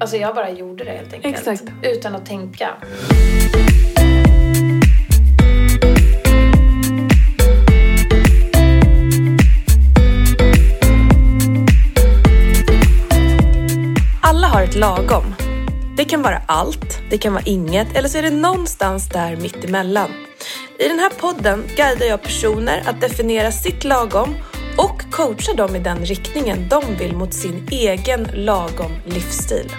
Alltså jag bara gjorde det helt enkelt. Exakt. Utan att tänka. Alla har ett lagom. Det kan vara allt, det kan vara inget eller så är det någonstans där mittemellan. I den här podden guidar jag personer att definiera sitt lagom och coachar dem i den riktningen de vill mot sin egen lagom livsstil.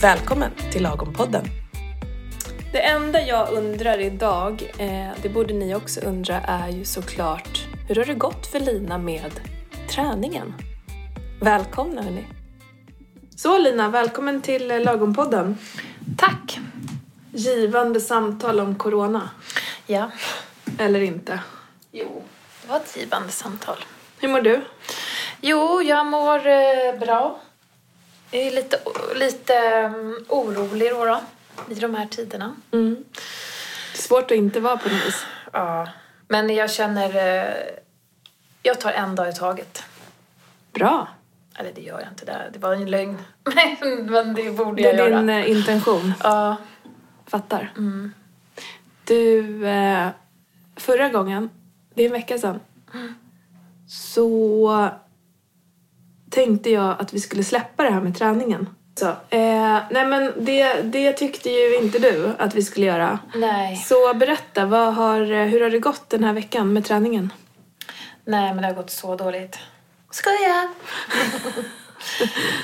Välkommen till Lagom-podden! Det enda jag undrar idag, eh, det borde ni också undra, är ju såklart hur har det gått för Lina med träningen? Välkomna hörni! Så Lina, välkommen till eh, Lagompodden. Tack! Givande samtal om corona. Ja. Eller inte. Jo, det var ett givande samtal. Hur mår du? Jo, jag mår eh, bra. Jag är lite, lite mm, orolig då, då i de här tiderna. Mm. Det är svårt att inte vara på något vis. Ja. Men jag känner... eh, Jag tar en dag i taget. Bra. Eller det gör jag inte, det, det var en lögn. Men, men det borde Det jag är göra. din eh, intention. Ja. Fattar. Du, eh, förra gången, det är en vecka sedan, så tänkte jag att vi skulle släppa det här med träningen. Så, eh, nej men det, det tyckte ju inte du att vi skulle göra. Nej. Så berätta, vad har, hur har det gått den här veckan med träningen? Nej, men det har gått så dåligt. Skoja!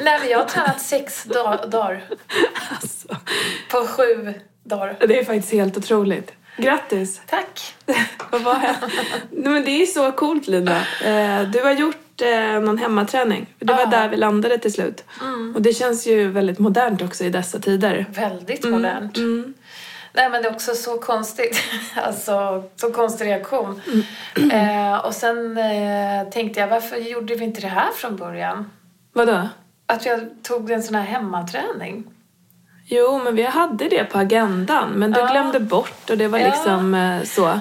Nej, men jag har tränat sex da- dagar Alltså, på sju dagar. det är faktiskt helt otroligt. Grattis! Tack! Vad var jag? Nej, men det är så coolt Lina. Eh, du har gjort eh, någon hemmaträning. Det var Ja. där vi landade till slut. Och det känns ju väldigt modernt också i dessa tider. Väldigt modernt. Mm. Nej, men det är också så konstigt. Alltså, så konstig reaktion. Mm. Eh, och sen eh, tänkte jag, varför gjorde vi inte det här från början? Vadå? Att jag tog en sån här hemmaträning. Jo, men vi hade det på agendan, men du Ja. glömde bort och det var Ja. liksom eh, så.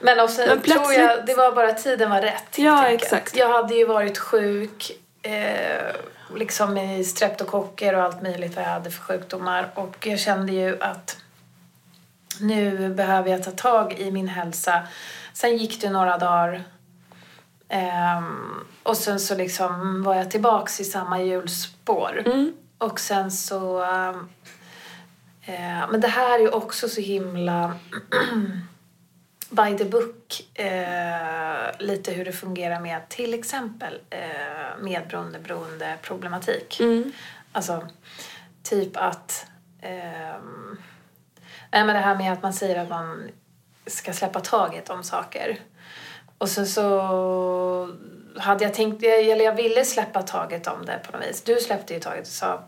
Men, och sen tror Men jag, plötsligt- det var bara tiden var rätt. helt Ja, enkelt. exakt. Jag hade ju varit sjuk, eh, liksom i streptokocker och allt möjligt vad jag hade för sjukdomar. Och jag kände ju att nu behöver jag ta tag i min hälsa. Sen gick det några dagar. ehm, och sen så liksom var jag tillbaks i samma hjulspår. Mm. Och sen så... ehm, eh, men det här är ju också så himla by the book eh, lite hur det fungerar med till exempel eh, medberoende beroende problematik. Mm. Alltså typ att ehm, nej men det här med att man säger att man ska släppa taget om saker. Och sen så hade jag tänkt, eller jag ville släppa taget om det på något vis. Du släppte ju taget och sa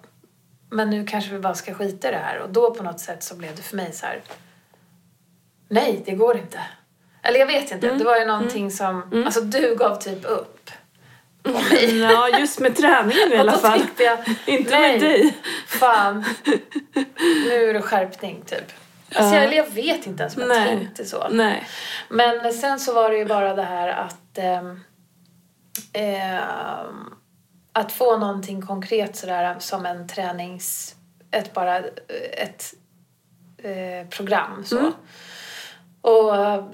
men nu kanske vi bara ska skita i det här. Och då på något sätt så blev det för mig så här nej det går inte. Eller jag vet inte, Mm. det var ju någonting som, alltså du gav typ upp. Ja, just med träningen i alla och då fall. tänkte jag, Inte nej. med dig. Fan, nu är det skärpning typ. Alltså, jag, eller jag vet inte ens om jag Nej. tänkte så. Nej. Men sen så var det ju bara det här att... ehm, ehm, att få någonting konkret sådär som en tränings... Ett bara... eh, Ett eh, program så. Mm. Och eh,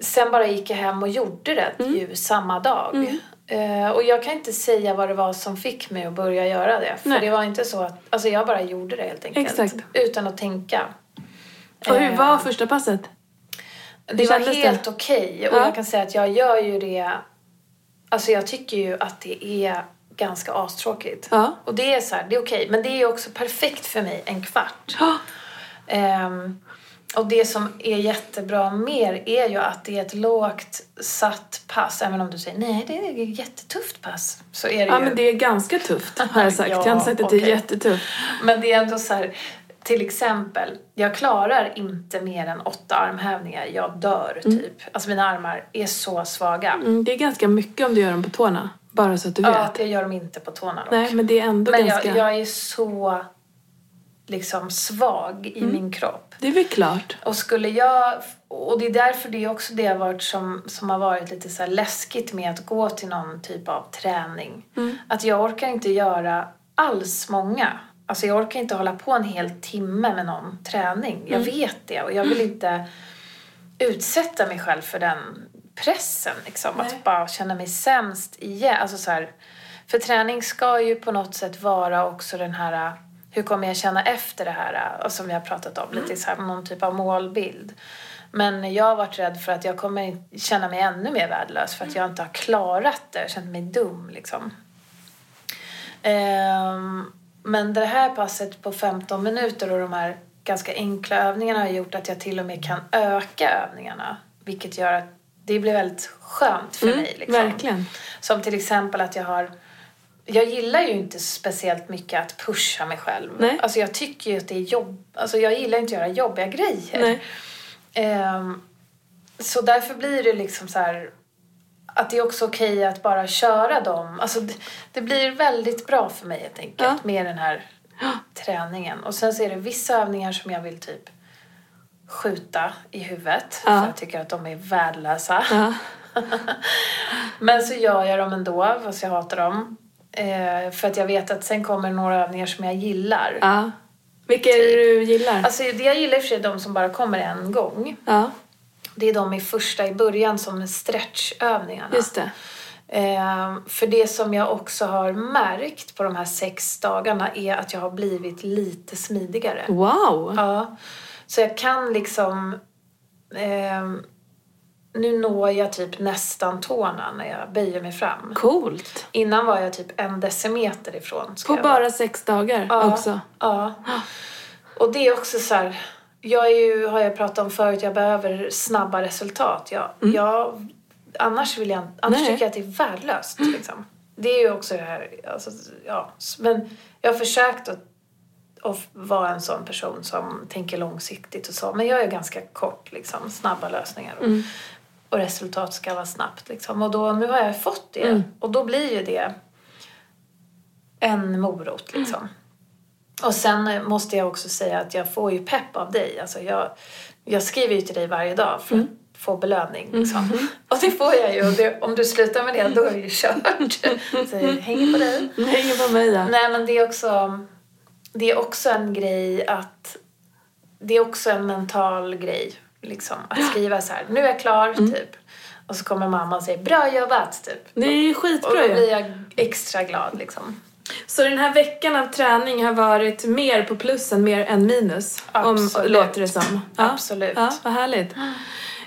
sen bara gick jag hem och gjorde det Mm. ju samma dag. Eh, och jag kan inte säga vad det var som fick mig att börja göra det. För Nej. det var inte så att... Alltså jag bara gjorde det helt enkelt. Exakt. Utan att tänka. Och hur Eh, var första passet? det Hur var kändes det? helt okej. Och Ja. jag kan säga att jag gör ju det... Alltså jag tycker ju att det är ganska astråkigt. Ja. Och det är så här, det är okej. Men det är ju också perfekt för mig en kvart. Ja. Ehm, och det som är jättebra med er är ju att det är ett lågt satt pass. Även om du säger nej, det är ett jättetufft pass. Så är det Ja, ju. men det är ganska tufft har jag sagt. Ja, jag har inte sagt att det okej. är jättetufft. Men det är ändå så här, till exempel, jag klarar inte mer än åtta armhävningar. Jag dör typ. Alltså mina armar är så svaga. Mm, det är ganska mycket om du gör dem på tårna. Bara så att du Ja, vet. jag gör dem inte på tårna dock. Nej, men det är ändå Men ganska... jag, jag är så liksom svag i Mm. min kropp. Det är väl klart. Och skulle jag... Och det är därför det är också det har varit som, som har varit lite så här läskigt med att gå till någon typ av träning. Att jag orkar inte göra alls många. Alltså jag orkar inte hålla på en hel timme med någon träning. Jag vet det och jag vill inte utsätta mig själv för den pressen. Liksom, Nej. att bara känna mig sämst igen. Alltså så här, för träning ska ju på något sätt vara också den här hur kommer jag känna efter det här? Och som vi har pratat om, lite så här, någon typ av målbild. Men jag har varit rädd för att jag kommer känna mig ännu mer värdelös för att jag inte har klarat det, jag har känt mig dum liksom. Ehm, men det här passet på 15 minuter och de här ganska enkla övningarna har gjort att jag till och med kan öka övningarna. Vilket gör att det blir väldigt skönt för mig. Liksom. Mm, Verkligen. Som till exempel att jag har... Jag gillar ju inte speciellt mycket att pusha mig själv. Nej. Alltså jag tycker ju att det är jobb... Alltså jag gillar inte att göra jobbiga grejer. Nej. Ehm, så därför blir det liksom så här att det är också okej att bara köra dem. Alltså det, det blir väldigt bra för mig helt enkelt Ja. med den här träningen. Och sen så är det vissa övningar som jag vill typ skjuta i huvudet Ja. för jag tycker att de är värdelösa. Ja. Men så gör jag dem ändå fast jag hatar dem. Eh, för att jag vet att sen kommer några övningar som jag gillar. ja. Vilka är det du gillar? Typ. Alltså det jag gillar i och för sig är de som bara kommer en gång. ja, Det är de i första i början som är stretchövningarna. just det. Eh, för det som jag också har märkt på de här sex dagarna är att jag har blivit lite smidigare. Mm. Wow! Ja. Så jag kan liksom... ehm, nu når jag typ nästan tårna när jag böjer mig fram. Coolt! Innan var jag typ en decimeter ifrån. ska På jag bara sex dagar Ja, också. Ja. Och det är också så här... Jag är ju, har jag pratat om förut, jag behöver snabba resultat. Jag, jag, annars vill jag, annars Mm. Nej. Mm. tycker jag att det är värdelöst. Liksom. Det är ju också det här... Alltså, ja. Men jag har försökt att, att vara en sån person som tänker långsiktigt och så. Men jag är ganska kort, liksom, snabba lösningar. Och, Mm. och resultat ska vara snabbt. Liksom. Och då, nu har jag fått det. Mm. Och då blir ju det en morot liksom. Och sen eh, måste jag också säga att jag får ju pepp av dig. Alltså jag, jag skriver ju till dig varje dag för Mm. att få belöning. Liksom. Och det får jag ju. Och det, om du slutar med det, då är det ju kört. Så jag hänger på dig. Mm. Hänger på mig där. Nej, men det är också... Det är också en grej att... Det är också en mental grej. Liksom, att skriva så här, nu är jag klar, Mm. typ. Och så kommer mamma och säger, bra jobbat, typ. Det är ju Och skitbra då ju. blir jag extra glad, liksom. Så den här veckan av träning har varit mer på plus än mer än minus. Om, Absolut. låter det som. Absolut. Ja, vad härligt.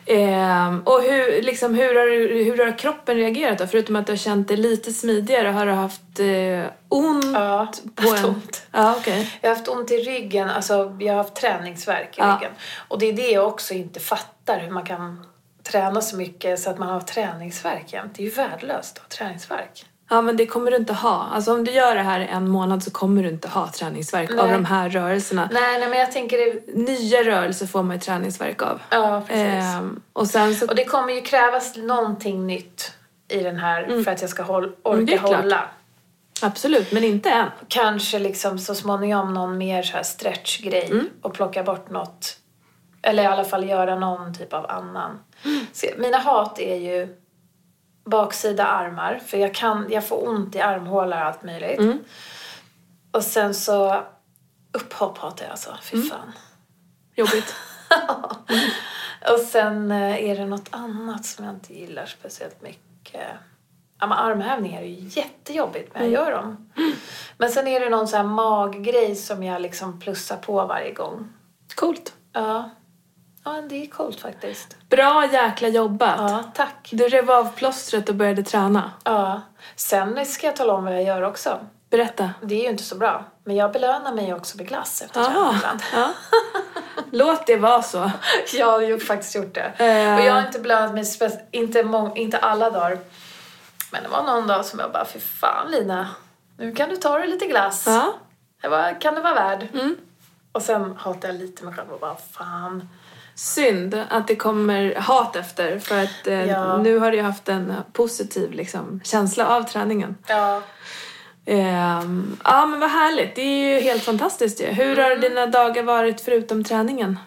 Ehm, och hur, liksom, hur, har, du- hur har kroppen reagerat då? Förutom att du har känt dig lite smidigare, har du haft eh, ont? Ja, på en... ont. Ja, okej. Jag har haft ont i ryggen, alltså jag har haft träningsvärk i Ja. ryggen. Och det är det jag också inte fattar, hur man kan träna så mycket så att man har träningsvärk jämt. Det är ju värdelöst att ha träningsvärk. Ja, men det kommer du inte ha. Alltså om du gör det här i en månad så kommer du inte ha träningsvärk av Nej. de här rörelserna. Nej, nej men jag tänker det... Nya rörelser får man ju träningsvärk av. Ja, precis. Ehm, och sen så... Och det kommer ju krävas någonting nytt i den här för att jag ska håll, orka det är klart. hålla. Absolut, men inte än. Kanske liksom så småningom någon mer så här stretchgrej och plocka bort något. Eller i alla fall göra någon typ av annan. Så mina hat är ju baksida armar, för jag, kan, jag får ont i armhålor och allt möjligt. Och sen så upphopp hatar jag alltså, fy fan. Jobbigt. Och sen eh, är det något annat som jag inte gillar speciellt mycket. Ja, men armhävningar är ju jättejobbigt, men jag gör dem. Men sen är det någon så här maggrej som jag liksom plussar på varje gång. Coolt. Ja, ja men det är coolt faktiskt. Bra jäkla jobbat. Ja, tack. Du rev av plåstret och började träna. Ja. Sen ska jag tala om vad jag gör också. Berätta. Det är ju inte så bra. Men jag belönar mig också med glass efter träningen Aha. ibland. Ja. Låt det vara så. Jag har ju faktiskt gjort det. Eh. Och jag har inte blödat mig, spe- inte, mång- inte alla dagar. Men det var någon dag som jag bara, fy fan Lina, nu kan du ta dig lite glass. Ja. Mm. Det var, kan du vara värd. Och sen hatade jag lite mig själv och bara, fan. Synd att det kommer hat efter för att eh, Ja. nu har du ju haft en positiv liksom, känsla av träningen. Ja. Ehm, ja men vad härligt, det är ju helt fantastiskt ju. Hur har Mm. dina dagar varit förutom träningen?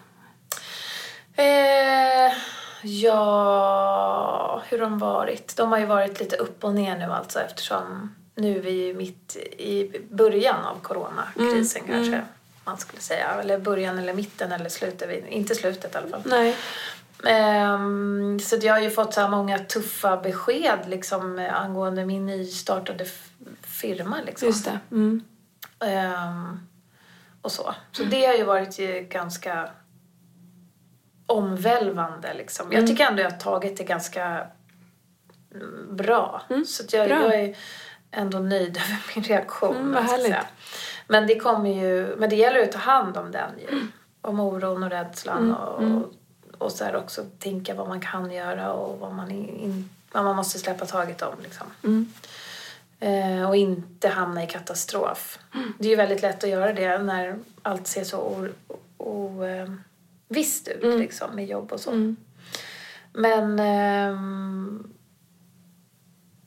Eh, ja, hur har de varit? De har ju varit lite upp och ner nu alltså eftersom nu är vi ju mitt i början av coronakrisen kanske man skulle säga. Eller början eller mitten eller slutet. Inte slutet i alla fall. Nej. Ehm, så att jag har ju fått så här många tuffa besked liksom, eh, angående min nystartade f- firma. Liksom. Just det. Mm. Ehm, och så. Så det har ju varit ju ganska omvälvande. Liksom. Jag tycker ändå jag har tagit det ganska mm, bra. Så att jag, bra. jag är ändå nöjd över min reaktion. Mm, vad om jag ska härligt. säga. Men det kommer ju, men det gäller ju att ta hand om den ju. Mm. Om oron och rädslan och, och så här också tänka vad man kan göra och vad man, in, vad man måste släppa taget om liksom. Mm. Eh, och inte hamna i katastrof. Mm. Det är ju väldigt lätt att göra det när allt ser så ovisst ut Mm. liksom, med jobb och så. Men... ehm,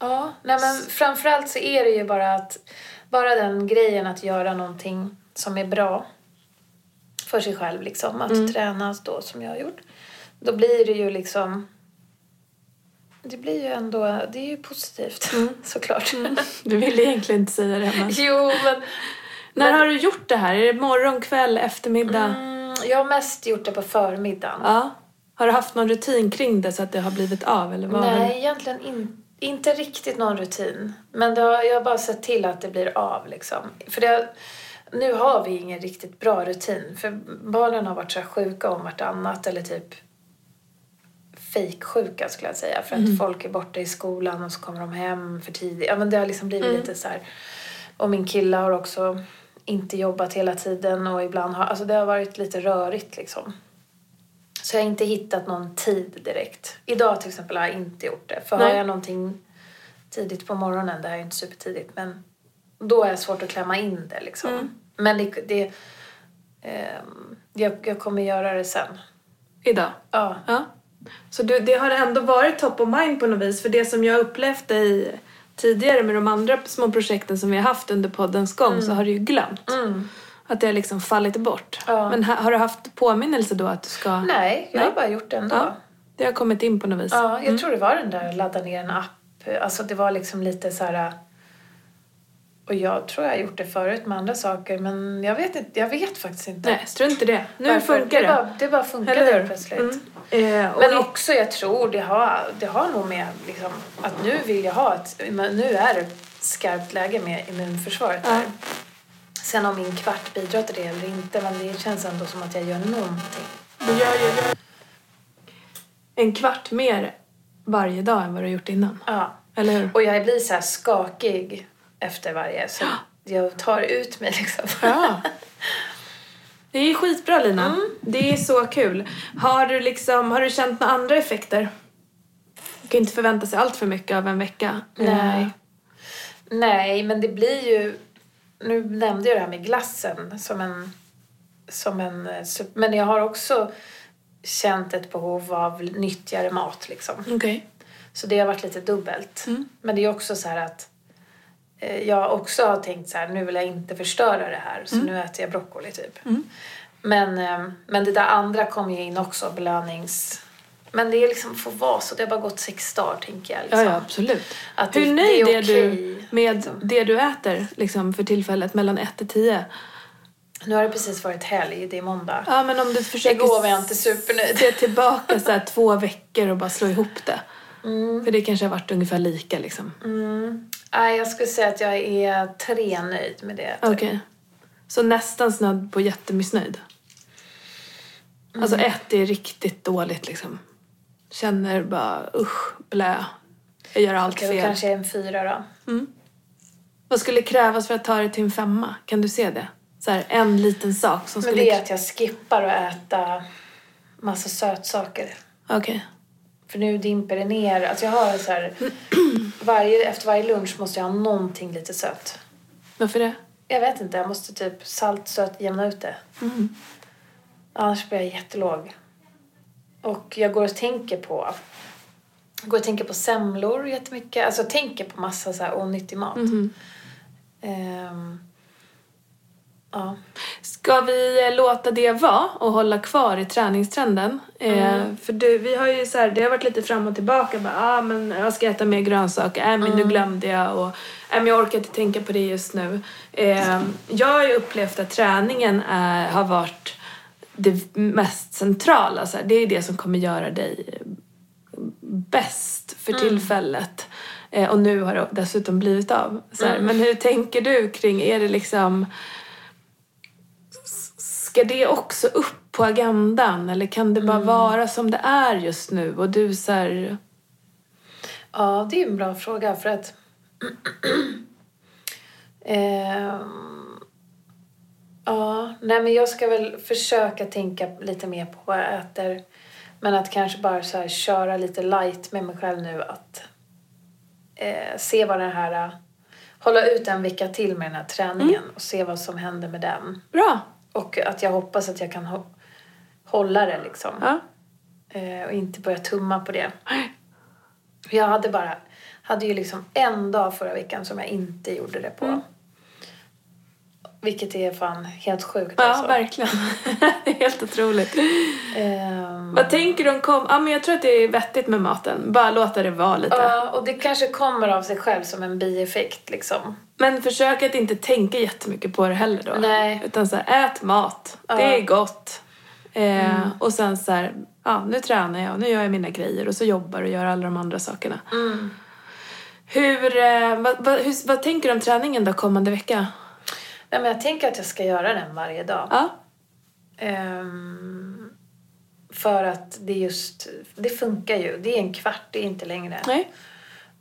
ja, nej men framförallt så är det ju bara att... Bara den grejen att göra någonting som är bra för sig själv, liksom. Att träna då som jag har gjort. Då blir det ju liksom... Det blir ju ändå... Det är ju positivt, såklart. Du ville egentligen inte säga det men... jo, men... När har du gjort det här? Är det morgon, kväll, eftermiddag? Mm, jag har mest gjort det på förmiddagen. Ja. Har du haft någon rutin kring det så att det har blivit av? Eller vad har du- Nej, egentligen in, inte riktigt någon rutin. Men det har, jag har bara sett till att det blir av liksom. För det, nu har vi ingen riktigt bra rutin. För barnen har varit så här sjuka om vartannat eller typ fejksjuka skulle jag säga. För att folk är borta i skolan och så kommer de hem för tidigt. Ja men det har liksom blivit lite så här. Och min kille har också inte jobbat hela tiden och ibland har, alltså det har varit lite rörigt liksom. Så jag har inte hittat någon tid direkt. Idag till exempel har jag inte gjort det. För Nej. har jag någonting tidigt på morgonen, det här är ju inte supertidigt, men då är det svårt att klämma in det liksom. Mm. Men det, det ehm, jag, jag kommer göra det sen. Idag? Ja. Ja. Så du, det har ändå varit top of mind på något vis. För det som jag upplevt i tidigare med de andra små projekten som vi har haft under poddens gång så Mm. har du ju glömt. Att det har liksom fallit bort. Ja. Men ha, har du haft påminnelse då att du ska... Nej, jag Nej. har bara gjort det ändå. Ja. Mm. Det har kommit in på något vis. Ja, jag tror det var den där ladda ner en app. Alltså det var liksom lite så här... Och jag tror jag har gjort det förut med andra saker men jag vet, inte, jag vet faktiskt inte. Nej, strunt i det. Nu Varför. funkar det. det. Bara, det bara funkade Eller hur? plötsligt. Mm. Eh, och Men också jag tror det har, det har nog med liksom, att nu vill jag ha ett, men nu är det skarpt läge med immunförsvaret Ja. här. Sen om min kvart bidrar till det eller inte men det känns ändå som att jag gör någonting. du gör ju en kvart mer varje dag än vad du gjort innan. Ja. Eller hur? Och jag blir så här skakig efter varje så jag tar ut mig liksom. Ja. Mm. Det är skitbra Lina. Det är så kul. Har du, liksom, har du känt några andra effekter? Man kan inte förvänta sig allt för mycket av en vecka. Nej. Eh, Nej, men det blir ju... Nu nämnde jag det här med glassen som en... Som en eh, sup- men jag har också känt ett behov av nyttigare mat liksom. Okej. Så det har varit lite dubbelt. Mm. Men det är också så här att eh, jag också har tänkt så här, nu vill jag inte förstöra det här så Mm. nu äter jag broccoli typ. Men, eh, men det där andra kom ju in också, belönings... Men det är liksom får vara så, det har bara gått sex dagar tänker jag. Ja, Liksom. ja, absolut. Att Hur det- nöjd det är, är du okej, med det du äter liksom, för tillfället mellan 1 till 10? Nu har det precis varit helg, det är måndag. Ja, men om du försöker Igår var jag inte supernöjd. se tillbaka så här, två veckor och bara slå ihop det. För det kanske har varit ungefär lika liksom. Nej, jag skulle säga att jag är tre nöjd med det. Okej. Så nästan snudd på jättemissnöjd? Alltså Mm. ett är riktigt dåligt liksom. Känner bara usch, blä. Jag gör allt Okej, fel. då kanske jag är en fyra då. Vad skulle krävas för att ta det till en femma? Kan du se det? Så här, en liten sak som Men skulle... det är att jag skippar att äta massa sötsaker. Okej. För nu dimper det ner. Alltså jag har så här, varje, efter varje lunch måste jag ha någonting lite sött. Varför det? Jag vet inte, jag måste typ salt, sött, jämna ut det. Annars blir jag jättelåg. Och jag går och tänker på jag går och tänker på semlor jättemycket. Alltså jag tänker på massa så här onyttig mat. Ehm, ja. Ska vi eh, låta det vara och hålla kvar i träningstrenden? Eh, för du, vi har ju så här, det har varit lite fram och tillbaka. Bara, ah, men jag ska äta mer grönsaker. Äh, men nu glömde jag. Och, äh, men jag orkar inte tänka på det just nu. Eh, jag har ju upplevt att träningen är, har varit det mest centrala. Så här, det är det som kommer göra dig bäst för tillfället. Eh, och nu har det dessutom blivit av. Så här, Men hur tänker du kring, är det liksom... s- Ska det också upp på agendan eller kan det bara vara som det är just nu? Och du så här, Ja, det är en bra fråga för att... Ehm, ja, nej men jag ska väl försöka tänka lite mer på vad jag äter. Men att kanske bara så här köra lite light med mig själv nu att eh, se vad den här... eh, Hålla ut en vecka till med den här träningen och se vad som händer med den. bra! Och att jag hoppas att jag kan hå- hålla det liksom. Ja. Eh, och inte börja tumma på det. Jag hade bara, hade ju liksom en dag förra veckan som jag inte gjorde det på. Mm. Vilket är fan helt sjukt Ja, alltså. verkligen. det är helt otroligt. Ehm, Vad tänker du om kom? Ja, men jag tror att det är vettigt med maten. Bara låta det vara lite. Ja, och det kanske kommer av sig själv som en bieffekt liksom. Men försök att inte tänka jättemycket på det heller då. Nej. Utan så här, ät mat. Det är gott. Eh, Och sen så här, ja nu tränar jag och nu gör jag mina grejer och så jobbar och gör alla de andra sakerna. Hur, eh, vad, vad, hur, vad tänker du om träningen då kommande vecka? Nej men jag tänker att jag ska göra den varje dag. Ja, Ehm, för att det just, det funkar ju. Det är en kvart, det är inte längre. nej.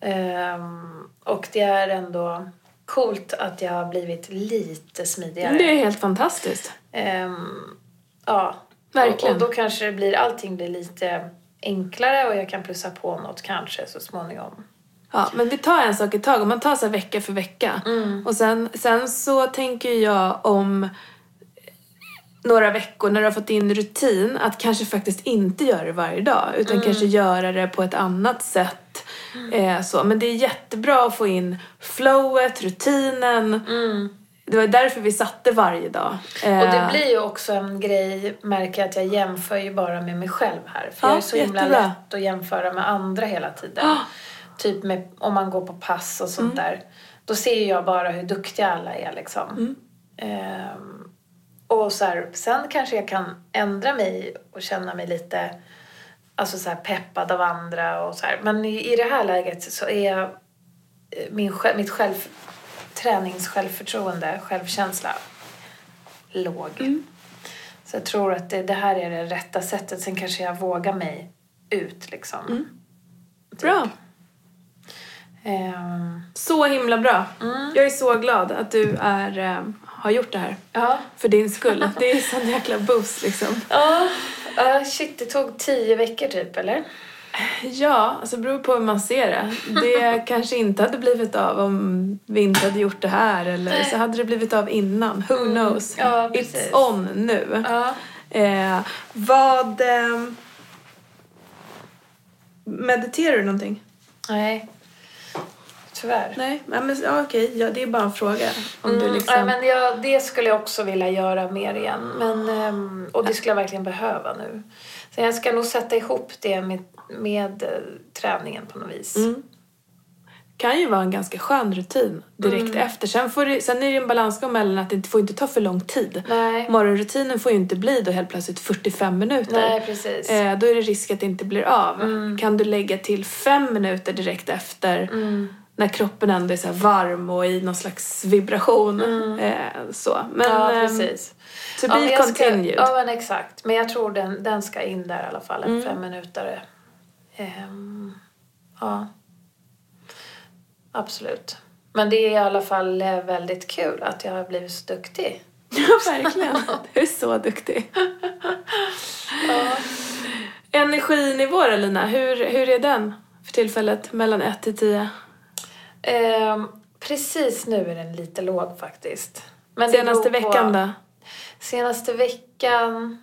Ehm, och det är ändå coolt att jag har blivit lite smidigare. Det är helt fantastiskt. Ehm, ja. Verkligen. Och, och då kanske det blir, allting blir lite enklare och jag kan plussa på något kanske så småningom. Ja, men vi tar en sak i taget. Man tar så här vecka för vecka. Mm. Och sen, sen så tänker jag om några veckor när du har fått in rutin att kanske faktiskt inte göra det varje dag utan Mm. kanske göra det på ett annat sätt. Eh, så. Men det är jättebra att få in flowet, rutinen. Det var därför vi satte varje dag. Eh, Mm. Och det blir ju också en grej, märker jag att jag jämför ju bara med mig själv här. För Ja, jag är så himla jättebra. Ah! lätt att jämföra med andra hela tiden. Typ med, om man går på pass och Mm. sånt där. Då ser ju jag bara hur duktiga alla är liksom. Mm. Ehm, och så här, sen kanske jag kan ändra mig och känna mig lite alltså så här, peppad av andra och så här. Men i, i det här läget så är jag, eh, min, själ- mitt själv, träningssjälvförtroende, självkänsla låg. Mm. Så jag tror att det, det här är det rätta sättet. Sen kanske jag vågar mig ut liksom. Mm. typ- Bra. Ehm, Så himla bra. Mm. Jag är så glad att du är, eh, har gjort det här. ja. För din skull. Det är sån jäkla boost liksom. Ja, ja, shit det tog tio veckor typ eller? Ja, alltså det beror på hur man ser det. Det kanske inte hade blivit av om vi inte hade gjort det här eller så hade det blivit av innan. Who knows? Mm. Ja, precis. It's on nu. Ja. Eh, vad... Eh, mediterar du någonting? Nej. Tyvärr. Nej, Nej, men ja, okej. Ja, det är bara en fråga. Om du Mm, liksom... nej, men jag, det skulle jag också vilja göra mer igen. Men, ehm, och det skulle jag verkligen behöva nu. Så jag ska nog sätta ihop det med, med eh, träningen på något vis. Mm. kan ju vara en ganska skön rutin direkt Mm. efter. Sen, får det, sen är det en balansgång mellan att det inte får inte ta för lång tid. Nej. Morgonrutinen får ju inte bli då helt plötsligt 45 minuter. Nej, precis. Eh, då är det risk att det inte blir av. Mm. Kan du lägga till fem minuter direkt efter Mm. när kroppen ändå är så här varm och i någon slags vibration. Eh, så. Men, Mm. ja, ehm, precis. to men be jag ska- continued. Ja, men exakt. Men jag tror den, den ska in där i alla fall, en Mm. femminutare. Ehm, ja. Absolut. Men det är i alla fall eh, väldigt kul att jag har blivit så duktig. Ja, verkligen. Du är så duktig. Energinivå då, Lina, hur, hur är den för tillfället mellan 1 till 10? Ehm, precis nu är den lite låg faktiskt. Men det Senaste beror på- veckan då? Senaste veckan...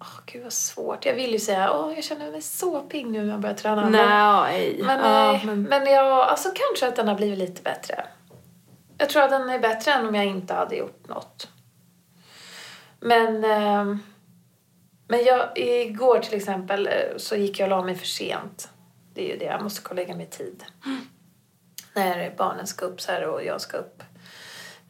Åh, Gud vad svårt. Jag vill ju säga åh jag känner mig så pigg nu när jag börjar träna. Men- Nej. Men, ja, nej, men... men jag, alltså kanske att den har blivit lite bättre. Jag tror att den är bättre än om jag inte hade gjort något. Men, eh, men jag, igår till exempel eh, så gick jag och la mig för sent. Det är ju det, jag måste kolla lägga mig i tid. När barnen ska upp så här och jag ska upp.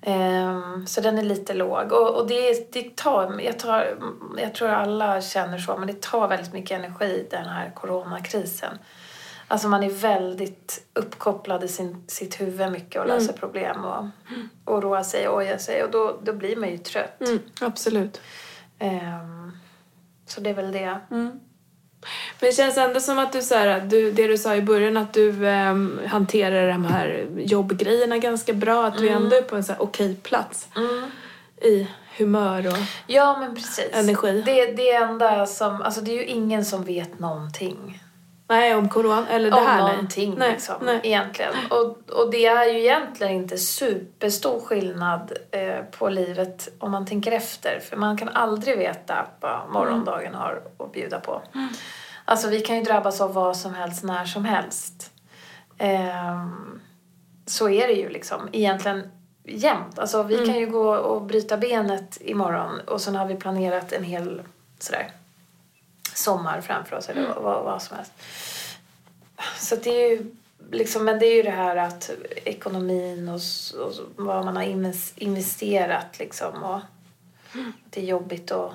Ehm, så den är lite låg. Och, och det, det tar, jag, tar, jag tror alla känner så, men det tar väldigt mycket energi den här coronakrisen. Alltså man är väldigt uppkopplad i sin, sitt huvud mycket och löser problem och oroar sig och ojar sig och då, då blir man ju trött. Mm, absolut. Ehm, så det är väl det. Mm. Men det känns ändå som att du, så här, att du det du sa i början, att du ehm, hanterar de här jobbgrejerna ganska bra. Att du Mm. ändå är på en så här okej plats i humör och... Ja, men precis. Energi. Det, det enda som... Alltså det är ju ingen som vet någonting. Nej, om corona. Eller det om här, nej. någonting nej. liksom, Nej. egentligen. Och, och det är ju egentligen inte superstor skillnad eh, på livet om man tänker efter. För man kan aldrig veta Mm. vad morgondagen har att bjuda på. Alltså vi kan ju drabbas av vad som helst när som helst. Ehm, så är det ju liksom egentligen jämt. Alltså vi kan ju gå och bryta benet imorgon och sen har vi planerat en hel sådär sommar framför oss eller vad, vad som helst. Så att det är ju liksom, men det är ju det här att ekonomin och, s- och s- vad man har inves- investerat liksom och att det är jobbigt och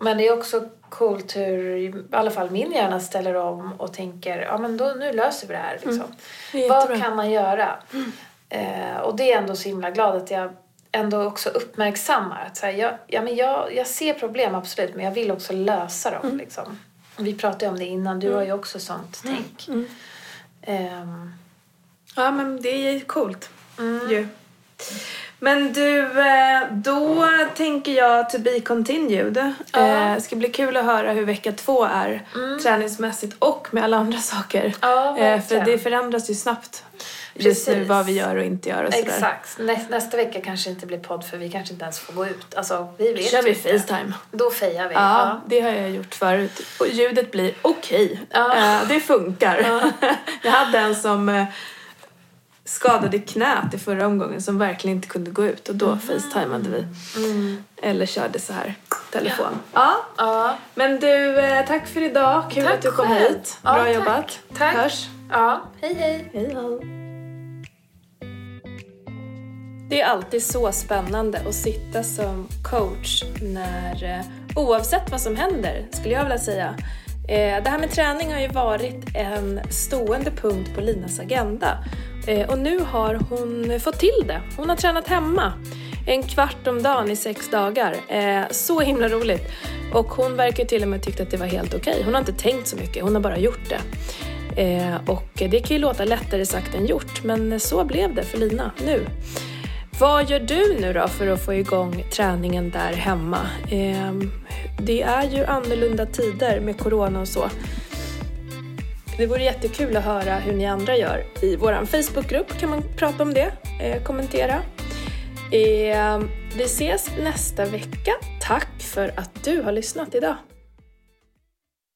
men det är också coolt hur i alla fall min hjärna ställer om och tänker ja men då, nu löser vi det här liksom. Det är jättebra. Mm. Vad kan man göra? Eh, och det är jag ändå så himla glad att jag ändå också uppmärksammar att så här, jag, ja, men jag, jag ser problem absolut men jag vill också lösa dem Mm. liksom. Vi pratade ju om det innan, du har ju också sånt tänk. Mm. Ehm, Ja, men det är coolt Mm. ju. Men du, eh, då tänker jag to be continued. Ja. Mm. Eh, ska bli kul att höra hur vecka två är träningsmässigt och med alla andra saker. Ja, eh, för verkligen. det förändras ju snabbt just nu Precis. vad vi gör och inte gör och sådär. Exakt. Nä, nästa vecka kanske inte blir podd för vi kanske inte ens får gå ut. Alltså, vi Då vet kör vi inte. Facetime. Då fejar vi. Ja, Ja. det har jag gjort förut. Och ljudet blir okej. Ja. Eh, det funkar. jag hade en som eh, skadade knät i förra omgången som verkligen inte kunde gå ut och då Mm. facetimade vi. Eller körde så här, telefon. Ja. Ja. Men du, eh, tack för idag. Kul Tack att du kom själv. hit. Ja, Bra tack. jobbat. Tack. Hörs. ja. Hej, hej. Hej då. Det är alltid så spännande att sitta som coach när, eh, oavsett vad som händer, skulle jag vilja säga. Eh, Det här med träning har ju varit en stående punkt på Linas agenda. Eh, Och nu har hon fått till det. Hon har tränat hemma en kvart om dagen i sex dagar. Eh, Så himla roligt. Och hon verkar till och med tyckt att det var helt okej. Hon har inte tänkt så mycket, hon har bara gjort det. Eh, och det kan ju låta lättare sagt än gjort, men så blev det för Lina nu. Vad gör du nu då för att få igång träningen där hemma? Eh, det är ju annorlunda tider med corona och så. Det vore jättekul att höra hur ni andra gör. I vår Facebookgrupp kan man prata om det, eh, kommentera. Ehm, Eh, vi ses nästa vecka. Tack för att du har lyssnat idag.